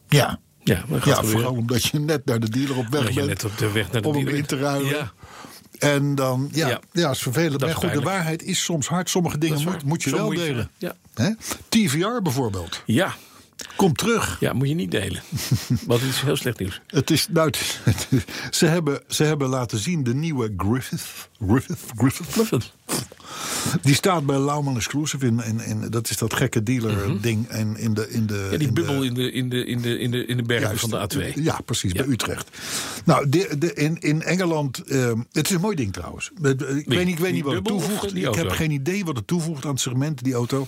Ja.
Ja, maar gaat
Ja,
gebeuren.
vooral omdat je net naar de dealer op weg
Omdat je
bent.
net op de weg naar de
om hem
dealer
in te
bent.
ruilen.
Ja.
En dan, ja,
Ja.
ja. is vervelend.
Dat
Maar
is
goed, de
pijnlijk.
waarheid is soms hard. Sommige dingen
is
moet,
waar.
moet je
Zo
wel
moet je-
delen.
ja.
Hè? TVR bijvoorbeeld.
Ja,
Kom terug.
ja, moet je niet delen. Want het is heel slecht nieuws.
Het is, nou, het is- het is- ze, hebben, ze hebben laten zien de nieuwe Griffith. Griffith, Griffith.
Bluffend.
Die staat bij Lauman Exclusive. In, in, in, dat is dat gekke dealer-ding. in, in de, in de,
Mhm. Ja, die
in de-
bubbel in de, in de, in de, in de, in de bergen
Juist.
van de A2.
Ja, precies,
Ja.
bij Utrecht. Nou, de, de, in, in Engeland, ehm, het is een mooi ding trouwens. Eh, eh, Ik weet niet, ik weet
die
niet wat het
bubbel of
toevoegt.
die
Ik heb
auto?
geen idee wat het toevoegt aan het segment, die auto.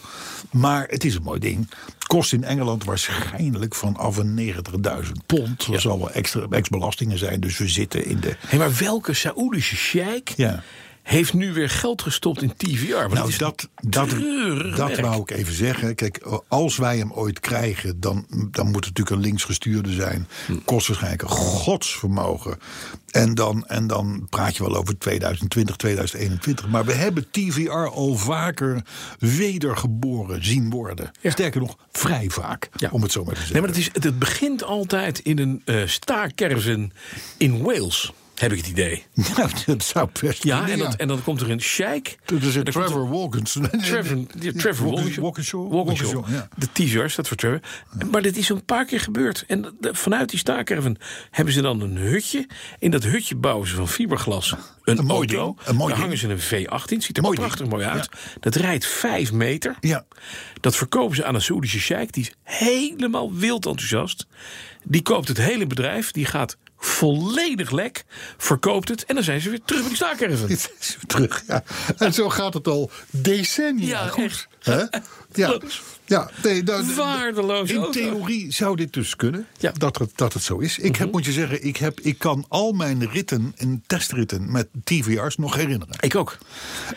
Maar het is een mooi ding. Het kost in Engeland waarschijnlijk vanaf een 90.000 pond. Er zal wel extra ex-belastingen zijn, dus we zitten in de...
Hé, maar welke Saoedische sheik
Ja.
heeft nu weer geld gestopt in TVR? Want het
Nou,
is
dat,
een
dat,
treurig
dat
merk.
wou ik even zeggen. Kijk, als wij hem ooit krijgen, dan, dan moet het natuurlijk een linksgestuurde zijn.
Hm.
Kost waarschijnlijk een godsvermogen. En dan, en dan praat je wel over 2020, 2021. Maar we hebben TVR al vaker wedergeboren zien worden.
Ja.
Sterker nog, vrij vaak,
Ja.
om het zo maar te zeggen.
Nee, maar het, is, het, het begint altijd in een eh staarkerven in Wales, heb ik het idee.
Nou, dat zou best
Ja,
kunnen,
en, dat, en dan komt er een sheik.
Dat is
en
een
dan komt er-
Trevor Walkens. Eh,
Trevor, ja, Trevor Walkinshaw.
Walkinshaw.
Walkinshaw.
Walkinshaw, ja.
De teaser staat voor Trevor. Maar dit is een paar keer gebeurd. En de- de- vanuit die staakerven hebben ze dan een hutje. In dat hutje bouwen ze van fiberglas een,
Een mooi
auto.
ding, een mooi
Daar hangen ze
ding.
een V18. Ziet er
Mooi
prachtig
ding,
mooi
ja.
uit. Dat rijdt vijf meter.
Ja.
Dat verkopen ze aan een Saoedische sheik. Die is helemaal wild enthousiast. Die koopt het hele bedrijf. Die gaat volledig lek. Verkoopt het. En dan zijn ze weer terug bij die staakerven.
Dit is weer terug, ja. En zo gaat het al decennia.
Ja,
goed.
echt.
Hè? Ja, ja nee, nou, d- d-
Waardeloos
In
auto.
theorie zou dit dus kunnen,
Ja. Mhm.
dat, het, dat het zo is. Ik heb, moet je zeggen, ik, heb, ik kan al mijn ritten en testritten met TVR's nog herinneren.
Ik ook.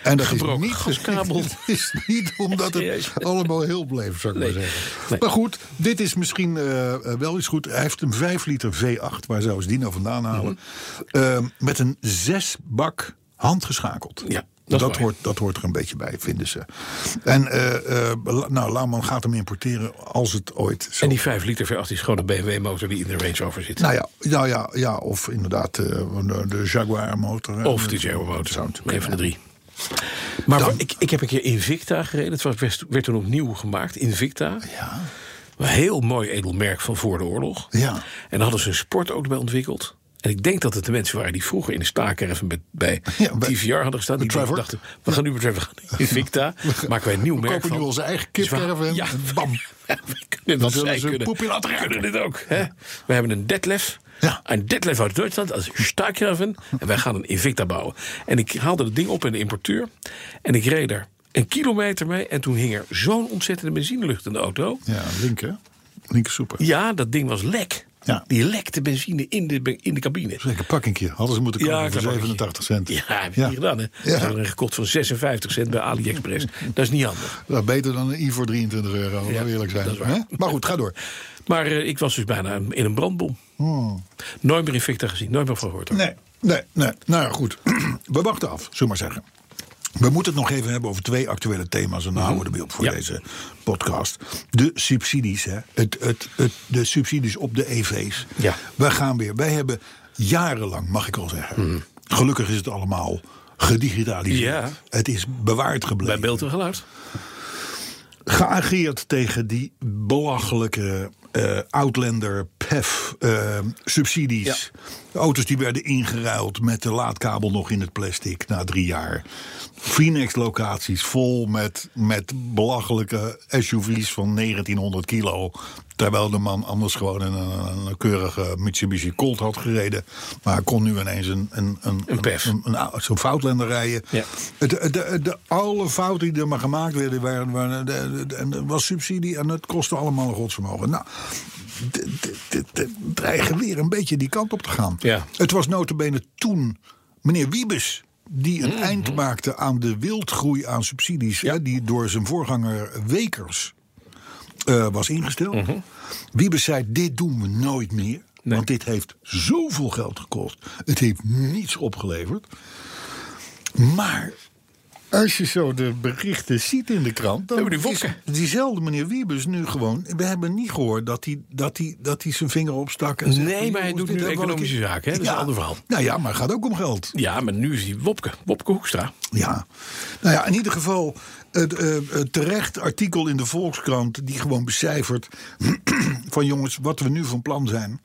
En dat
Gebroken
is niet,
gaskabel.
Het is niet omdat
Serieus.
het allemaal heel bleef, zou ik
Nee.
maar zeggen.
Nee.
Maar goed, dit is misschien eh, eh, wel iets goed. Hij heeft een 5 liter V8, waar zou ze die nou vandaan halen?
Mhm.
Ehm, met een 6 bak handgeschakeld.
Ja, dat is
Dat,
waar.
hoort, dat hoort er een beetje bij, vinden ze. En eh, eh, La- nou, Lauman gaat hem importeren als het ooit zo
En die 5 liter V8 is gewoon een BMW-motor die in de Range Rover zit.
nou ja, nou ja, ja, of inderdaad eh, de, de Jaguar motor. hè.
of de Jaguar motor.
Zou natuurlijk
Een van de drie. eh, Maar wa- ik, ik heb een keer Invicta gereden. Het was, werd, werd toen opnieuw gemaakt. Invicta.
Ja.
Een heel mooi edelmerk van voor de oorlog.
Ja.
En daar hadden ze een sportauto bij ontwikkeld. En ik denk dat het de mensen waren die vroeger in de staakerven bij, bij
Ja, bij-
TVR hadden gestaan. Die
Trevor.
dachten, we gaan nu met Trevor in Victa. Maken wij een nieuw
We
merk
kopen
van.
nu onze eigen
Dus we-
kipkerven.
Ja.
Bam.
Ja, we kunnen
Dan
dat
zullen
zij
ze
kunnen.
poep in laten
We
ruiken.
kunnen dit ook. Hè? We hebben een detlef.
Ja.
Een detlef uit Duitsland als Starkraven. En wij gaan een Invicta bouwen. En ik haalde het ding op in de importeur. En ik reed er een kilometer mee. En toen hing er zo'n ontzettende benzinelucht in de auto.
Ja, linker. Linker soeper.
Ja, dat ding was lek.
Ja.
Die lekte benzine in de, be- in de cabine.
Zeker pakkingje. Hadden ze moeten
Ja,
kopen
een
voor
klein pakkingje.
87 cent.
Ja, heb je niet gedaan hè. Ze hebben er een gekocht van 56 cent bij AliExpress. Dat is niet handig.
Nou, beter dan een i voor 23 euro, laten
Ja,
we eerlijk zijn.
dat is waar.
Hè? Maar goed, ga door.
Maar eh, ik was dus bijna in een brandbom.
Hmm.
Nooit meer in Victa gezien, nooit meer van gehoord. hoor.
Nee, nee, nee. Nou ja, goed. We wachten af, zullen we maar zeggen. We moeten het nog even hebben over twee actuele thema's. En dan houden we ermee op voor
Mhm. Ja.
deze podcast. De subsidies, hè. Het, het, het, de subsidies op de EV's.
Ja.
We gaan weer. Wij hebben jarenlang, mag ik al zeggen. Gelukkig is het allemaal gedigitaliseerd.
Mhm. Ja.
Het is bewaard
Bij
gebleven.
beeld en geluid.
geageerd tegen die belachelijke eh, Outlander PEF eh, subsidies. De Auto's die werden ingeruild met de laadkabel nog in het plastic na drie jaar. Phoenix locaties vol met, met belachelijke SUV's van 1900 kilo. Terwijl de man anders gewoon een, een, een keurige Mitsubishi Colt had gereden. Maar hij kon nu ineens een, een, een,
Een PEF.
een, een- zo'n Foutlander rijden.
Ja.
Het- De, de, de, alle fouten die er maar gemaakt werden, waren, waren, de- de- de- en er was subsidie en het kostte allemaal een godsvermogen. Nou, d- d- d- d- dreigen weer een beetje die kant op te gaan.
Ja.
Het was notabene toen meneer Wiebes die een
Mhm.
eind maakte aan de wildgroei aan subsidies... Hè, die door zijn voorganger Wekers eh, was ingesteld.
Mhm.
Wiebes zei, dit doen we nooit meer. Want dit heeft zoveel geld gekost. Het heeft niets opgeleverd. Maar als je zo de berichten ziet in de krant... dan
hebben die wokken.
is diezelfde meneer Wiebes nu gewoon... We hebben niet gehoord dat hij, dat hij, dat hij zijn vinger opstak. En zei,
Nee, maar hij
jongens,
doet
dit
nu
hebben we al een
economische
keer-
zaken, hè? Dat is een ander verhaal.
Nou ja, maar het gaat ook om geld.
Ja, maar nu is die Wopke, Wopke
Oh,
Hoekstra.
Ja, nou ja, in ieder geval het eh, eh, terecht artikel in de Volkskrant die gewoon becijfert van jongens, wat we nu van plan zijn.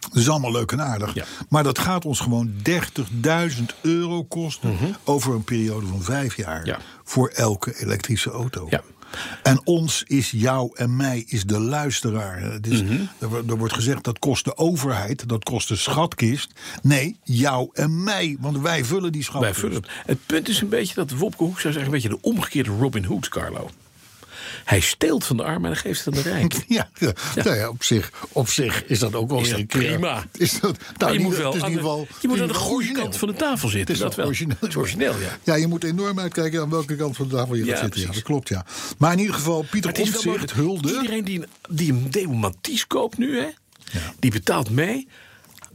Dat is allemaal leuk en aardig.
Ja.
Maar dat gaat ons gewoon 30.000 euro kosten over een periode van vijf jaar
Mhm. Ja.
voor elke elektrische auto.
Ja.
En ons is jou en mij is de luisteraar. Het is-
Mhm.
er, wo- er wordt gezegd dat kost de overheid, dat kost de schatkist. Nee, jou en mij, want wij vullen die
Wij
schatkist.
vullen het. Het punt is een beetje dat Wopke Hoekstra is eigenlijk een beetje de omgekeerde Robin Hood, Carlo. Hij steelt van de armen en hij geeft het aan de rijk.
Ja, ja. Nou ja, op zich, op zich is dat ook wel
Is
weer
dat
een keer-
prima?
Is dat, nou,
Maar je
niet-
moet wel
het is in
aan
ieder geval-
de, je moet aan de
in ieder geval
goede
origineel.
kant van de tafel zitten.
Het is
dat wel.
origineel.
Het is origineel, ja.
Ja, je moet enorm uitkijken aan welke kant van de tafel je
Ja,
gaat zitten. Ja,
precies.
dat klopt, ja. Maar in ieder geval,
Maar
Pieter
het is wel
Omtzigt
mooi dat
hulde...
Iedereen die een, die een Deo Matisse koopt nu, hè, die betaalt mee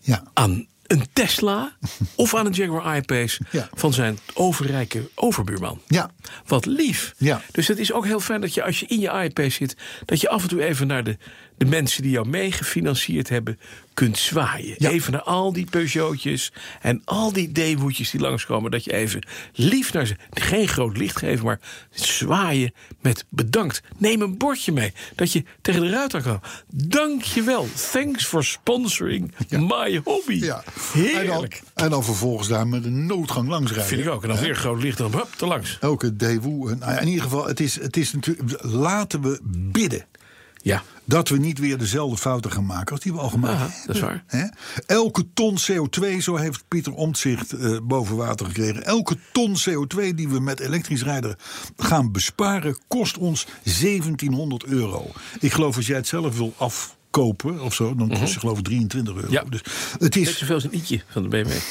Ja,
aan een Tesla of aan een Jaguar I-Pace
Ja.
van zijn overrijke overbuurman.
Ja.
Wat lief.
Ja.
Dus het is ook heel fijn dat je als je in je I-Pace zit... dat je af en toe even naar de, de mensen die jou meegefinancierd hebben... kunt zwaaien.
Ja.
Even naar al die Peugeotjes en al die Dewoetjes die langskomen... dat je even lief naar ze... geen groot licht geven, maar zwaaien met bedankt. Neem een bordje mee dat je tegen de ruit aan kan. Dank je wel. Thanks for sponsoring my hobby.
ja. En dan,
Heerlijk.
en dan vervolgens daar met een noodgang langs rijden.
Vind ik ook. En dan weer groot licht, dan hup, te langs.
Elke Daewoo. en- nou ja, In ieder geval, het is, het is natuurlijk... Laten we bidden
Ja.
dat we niet weer dezelfde fouten gaan maken als die we al gemaakt
Aha,
hebben.
dat is waar.
Hè? Elke ton CO2, zo heeft Pieter Omtzigt eh, boven water gekregen. Elke ton CO2 die we met elektrisch rijden gaan besparen, kost ons 1700 euro. Ik geloof als jij het zelf wil afkopen of zo, dan kost het geloof ik 23 euro.
Mhm. Ja.
Dus het
Net
is
zoveel als een i'tje van de BMW.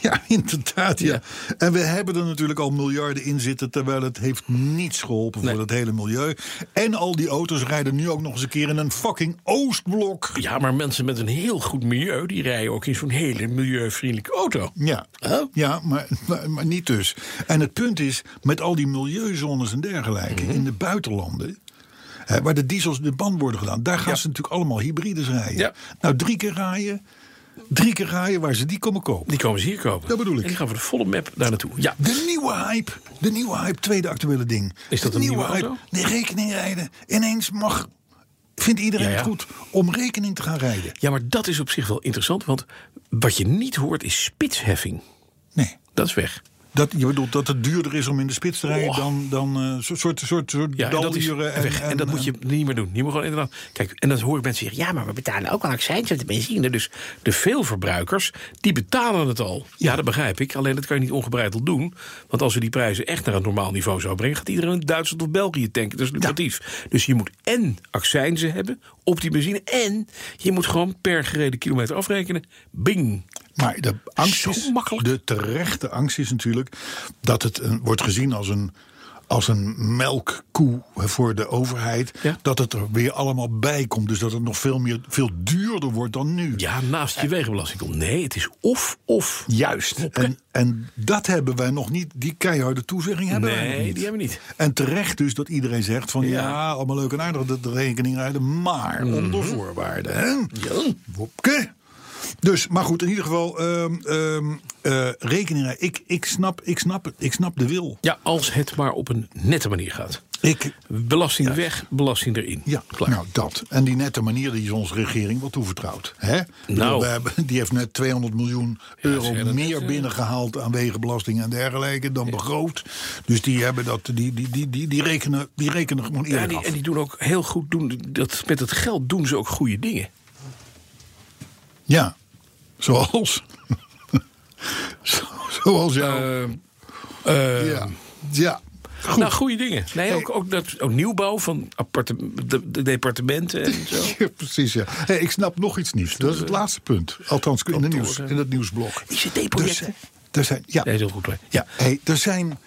ja, inderdaad. Ja.
Ja.
En we hebben er natuurlijk al miljarden in zitten, terwijl het heeft niets geholpen voor
Nee.
het hele milieu. En al die auto's rijden nu ook nog eens een keer in een fucking Oostblok.
Ja, maar mensen met een heel goed milieu... die rijden ook in zo'n hele milieuvriendelijke auto.
Ja,
Huh?
ja maar, maar, maar niet dus. En het punt is, met al die milieuzones en dergelijke
Mhm.
in de buitenlanden. Hè, waar de diesels de band worden gedaan. Daar gaan
Ja.
ze natuurlijk allemaal hybrides rijden.
Ja.
Nou, drie keer rijden. Drie keer rijden waar ze die komen kopen.
Die komen ze hier kopen.
Dat bedoel ik.
En die gaan voor de volle map daar naartoe. Ja.
De nieuwe hype. De nieuwe hype, tweede actuele ding.
Is dat
De
een nieuwe auto?
De rekening rijden. Ineens mag Vindt iedereen
Ja, ja.
het goed om rekening te gaan rijden?
Ja, maar dat is op zich wel interessant, want wat je niet hoort is spitsheffing.
Nee.
Dat is weg.
Dat, je bedoelt dat het duurder is om in de spits te rijden
Oh.
dan, dan eh, soort, soort, soort, soort
Ja, en dat is
daluren en-
weg. En,
en-
dat moet
en-
je niet meer doen. Je moet gewoon inderdaad. Kijk, en dat hoor ik mensen zeggen. Ja, maar we betalen ook al accijns op de benzine. Dus de veelverbruikers, die betalen het al. Ja, dat begrijp ik. Alleen dat kan je niet ongebreideld doen. Want als we die prijzen echt naar een normaal niveau zouden brengen... gaat iedereen in Duitsland of België tanken. Dat is lucratief. Dus je moet en accijnzen hebben op die benzine... en je moet gewoon per gereden kilometer afrekenen. Bing.
Maar de angst
Zo
is,
makkelijk.
de terechte angst is natuurlijk dat het een, wordt gezien als een, als een melkkoe voor de overheid.
Ja.
Dat het er weer allemaal bij komt. Dus dat het nog veel, meer, veel duurder wordt dan nu.
Ja, naast je wegenbelasting komt. Nee, het is of, of.
Juist. En, en dat hebben wij nog niet. Die keiharde toezegging hebben wij nog
Nee,
niet.
die hebben we niet.
En terecht dus dat iedereen zegt van ja,
Ja. Mhm.
allemaal leuk en aardig dat de rekening rijden, maar onder voorwaarden. Hè? Wopke. Dus, maar goed, in ieder geval ehm, ehm, eh, rekening rijden. Ik, ik, snap, ik, snap, het. ik snap de wil.
Ja, als het maar op een nette manier gaat.
Ik,
Belasting weg, belasting erin.
ja,
Klaar.
nou dat. En die nette manier die is onze regering wel toevertrouwd. Hè?
Nou.
We hebben, die heeft net 200 miljoen euro
zeg dat
meer binnengehaald aan wegenbelasting en dergelijke dan begroot. Dus die, hebben dat, die, die, die, die, die, rekenen, die rekenen gewoon eerlijk
ja, die,
af.
en die doen ook heel goed, doen, dat, met het geld doen ze ook goede dingen.
Ja, zoals. Zo- zoals jou. ja. ja. Goed.
Eh, Nou, goede dingen. Nee, ook, ook, dat, ook nieuwbouw van aparte, de, de departementen en zo.
Ja, precies, ja. Hey, ik snap nog iets nieuws. Dat is het laatste punt. Althans, in, de nieuws, in het nieuwsblok.
ICT-projecten.
Er zijn- Er zijn,
Dus,
ja,
eh, Nee, is heel goed. hoor.
ja. Hey, er zijn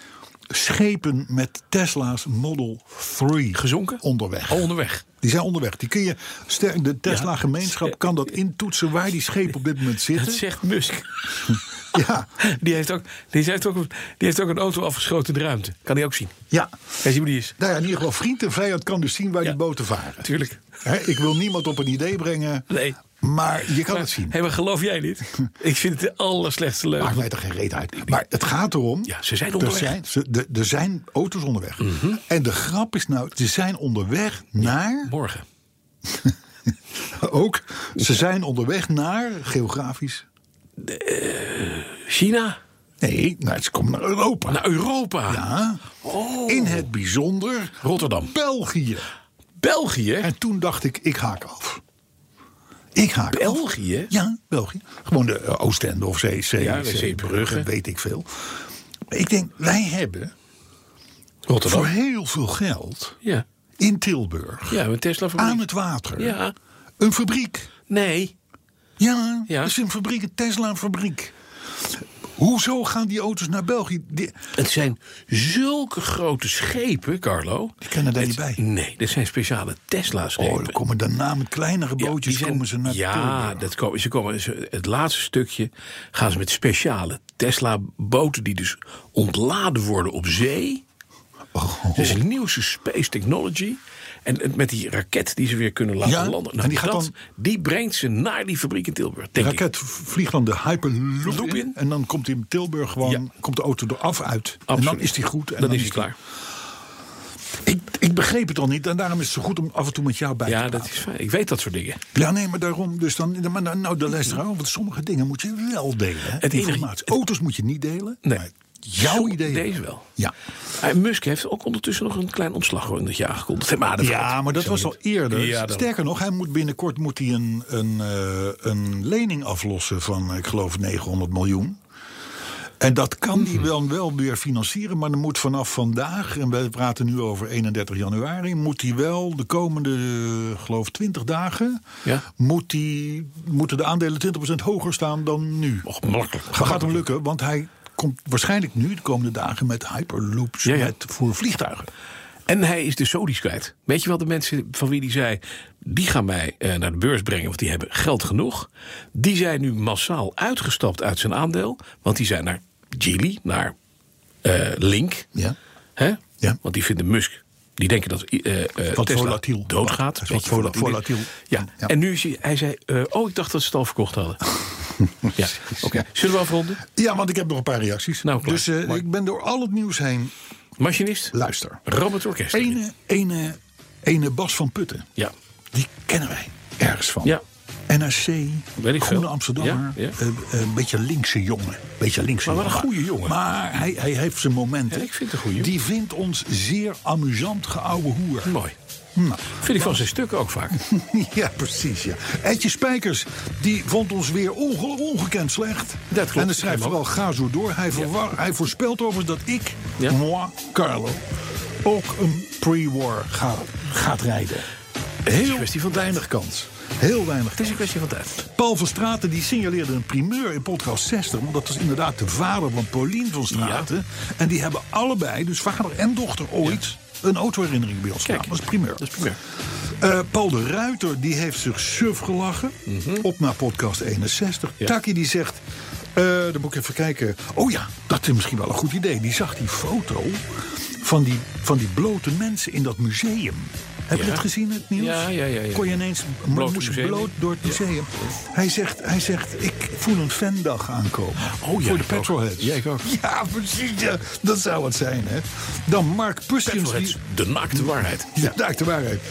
schepen met Tesla's Model 3
Gezonken? Oh.
onderweg.
Al onderweg.
Die zijn onderweg. Die kun je, ster- de Tesla-gemeenschap kan dat intoetsen waar die schepen op dit moment
Dat
zitten.
zegt Musk.
Ja,
Die heeft, ook, die, heeft ook, die heeft ook een auto afgeschoten in de ruimte. Kan hij ook zien.
ja.
Hij ziet hoe die is.
Nou ja, in ieder geval vriend en vijand kan dus zien waar
Ja.
die boten varen.
Tuurlijk.
Hè, ik wil niemand op een idee brengen,
Nee.
maar je kan
Maar-
het zien.
Hé, maar geloof jij dit? Ik vind het de allerslechtste leuk.
Maakt mij er geen reet uit. Maar het gaat erom.
Ja, ze zijn onderweg. Mhm.
Er zijn, ze- de- er zijn auto's onderweg. En de grap is nou, ze zijn onderweg naar.
Morgen.
Ook. Ze zijn onderweg naar. Geografisch.
China?
Nee, nou, ze komen naar Europa.
Naar Europa.
Ja. In het bijzonder
Rotterdam.
België.
België?
En toen dacht ik, ik haak af. Ik haak af.
België?
Ja, België. Gewoon de eh, Oostende of zee, zee,
Ja, de Zeebrugge.
weet ik veel. Maar ik denk, wij hebben voor
Rotterdam.
heel veel geld
Ja.
in Tilburg,
Ja, met Tesla voor
aan het water,
Ja.
een fabriek.
Nee.
Ja,
Ja.
dat is een fabriek, een Tesla-fabriek. Hoezo gaan die auto's naar België? Die-
Het zijn zulke grote schepen, Carlo.
Die kunnen daar
Het-
niet bij.
Nee, dat zijn speciale Tesla-schepen.
oh, dan komen daarna met kleinere
Ja,
bootjes
die zijn-
komen ze naar
ja,
Tilburg.
dat komen, ze komen, ze- het laatste stukje gaan ze met speciale Tesla-boten... die dus ontladen worden op zee.
Oh.
Dus het nieuwste space technology. En het- met die raket die ze weer kunnen laten
Ja,
landen. Nou,
en die gaat
dat-
dan-
die brengt ze naar die fabriek in Tilburg, denk ik.
raket vliegt dan de Hyperloop
Loop
in,
in.
En dan komt hij in Tilburg gewoon,
Ja.
komt de auto eraf uit. En
Absoluut.
dan is die goed. En
dan is hij klaar.
Ik, ik begreep het al niet en daarom is het zo goed om af en toe met jou bij te
Ja,
praten.
dat is fijn. Ik weet dat soort dingen.
Ja, nee, maar daarom. Dus dan, maar nou, nou, de les eruit, want sommige dingen moet je wel delen. Hè?
Het enige-
Informatie. Auto's moet je niet delen.
Nee.
Maar jouw
Zo-
idee.
Deze wel.
Ja.
En Musk heeft ook ondertussen nog een klein ontslagrondetje aangekondigd. Hij maakt het
Ja,
fout.
maar dat
Zo
was
niet.
al eerder.
Ja, daarom.
Sterker nog, hij moet binnenkort moet hij een, een, eh, een lening aflossen van, ik geloof, 900 miljoen. En dat kan
Mhm.
hij wel, wel weer financieren, maar dan moet vanaf vandaag, en we praten nu over 31 januari, moet hij wel de komende, eh, geloof 20 dagen,
Ja.
moet hij, moeten de aandelen 20% hoger staan dan nu.
Och, makkelijk.
Dat gaat hem lukken, want hij komt waarschijnlijk nu de komende dagen met hyperloops
Ja, ja.
Met, voor vliegtuigen.
En hij is de Saudis kwijt. Weet je wel, de mensen van wie die zei... die gaan mij eh, naar de beurs brengen, want die hebben geld genoeg. Die zijn nu massaal uitgestapt uit zijn aandeel. Want die zijn naar Geely, naar eh, Link.
Ja.
Hè?
Ja.
Want die vinden Musk... Die denken dat eh eh,
Wat
Tesla
volatiel.
doodgaat.
Wat
Een beetje
vola- volatiel.
Ja.
Ja.
En nu is hij, hij zei, eh, oh, ik dacht dat ze het al verkocht hadden. ja. Oké. Zullen we afronden?
Ja, want ik heb nog een paar reacties.
Nou, klaar.
dus eh,
Mooi.
ik ben door al het nieuws heen.
Machinist?
Luister.
Robert Orkest.
Ene, ene, ene Bas van Putten.
Ja.
die kennen wij ergens van.
Ja.
NRC,
Weet ik
Groene
veel.
Amsterdammer,
Ja, ja.
eh, eh, een beetje linkse jongen. Beetje linkse
Maar wat
jongen.
een goeie jongen.
Maar hij, hij heeft zijn momenten.
Ja, ik vind het een goeie. Hm.
Die vindt ons zeer amusant geouwe hoer.
Mooi.
Nou,
Vind ik van zijn stukken ook vaak.
ja, precies. Ja. Edje Spijkers, die vond ons weer onge- ongekend slecht.
Dat klopt.
En dat schrijft
Ik hem
vooral ga zo door. Hij, verwar- hij voorspelt overigens dat ik,
Ja.
moi, Carlo, ook een pre-war ga, gaat rijden. Heel
kwestie van tijd.
weinig kans. Heel weinig
Het is een kwestie van tijd.
Paul van Straten die signaleerde een primeur in podcast 60. Want dat was inderdaad de vader van Paulien van Straten. En die hebben allebei, dus vader en dochter, ooit een autoherinnering bij ons
Kijk,
gedaan. Dat is primeur.
dat is primeur.
Eh, Paul de Ruiter die heeft zich suf gelachen. Op naar podcast 61.
Mhm. Ja.
Taki die zegt... eh, dan moet ik even kijken. Oh ja, dat is misschien wel een goed idee. Die zag die foto van die, van die blote mensen in dat museum. Heb je
Ja.
dat gezien, het nieuws?
Ja, ja, ja, ja.
Kon je ineens
Bloot
moest
museum.
bloot door het museum. Hij, zegt, hij zegt, ik voel een fandag aankomen.
Oh ja,
Voor de
ik ook.
petrolheads.
Ja, ik ook.
Ja, precies. ja. dat zou het zijn, hè. Dan Mark Puskins.
Petrolheads, de naakte waarheid.
Die, ja, daar de waarheid.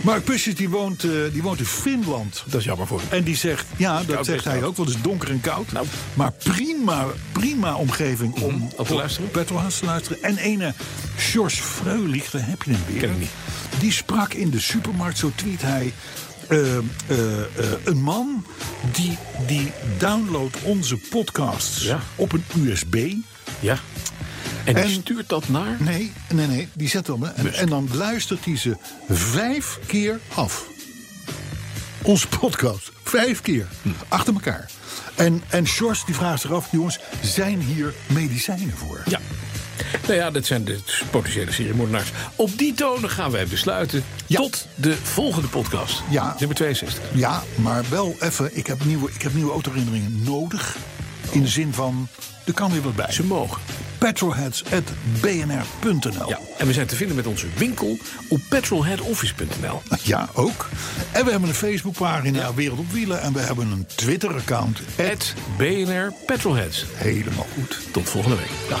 Mark Puskins, die woont, eh, die woont in Finland.
Dat is jammer voor hem.
En die zegt, ja, dat
Koud
zegt
bestaat.
hij ook, want het is donker en koud.
Nou. Mhm,
Maar prima, prima omgeving om
om te luisteren.
Petrolheads te luisteren. En ene George Freulich, daar heb je hem weer.
Ken ik niet.
Die sprak in de supermarkt, zo tweet hij. eh, eh, eh, een man die, die downloadt onze podcasts
Ja.
op een USB.
Ja. En, die
En-
stuurt dat naar...
Nee, nee, nee, die zet hem.
Dus-
En, en dan luistert hij ze vijf keer af. Onze podcast. Vijf keer.
Hm.
Achter elkaar. En, en George die vraagt zich af, jongens, zijn hier medicijnen voor?
Ja. Nou ja, dat zijn de potentiële seriemoordenaars. Op die tonen gaan wij besluiten.
Ja.
Tot de volgende podcast.
Ja.
Nummer 62.
Ja, maar wel even, ik heb nieuwe, ik heb nieuwe autoherinneringen nodig. In de zin van, er kan weer wat bij.
Ze mogen.
Petrolheads.bnr.nl
Ja. En we zijn te vinden met onze winkel op petrolheadoffice.nl.
Ja, ook. En we hebben een Facebookpagina, Wereld op Wielen. En we hebben een Twitter-account.
Het BNR Petrolheads.
Helemaal goed.
Tot volgende week. Dag.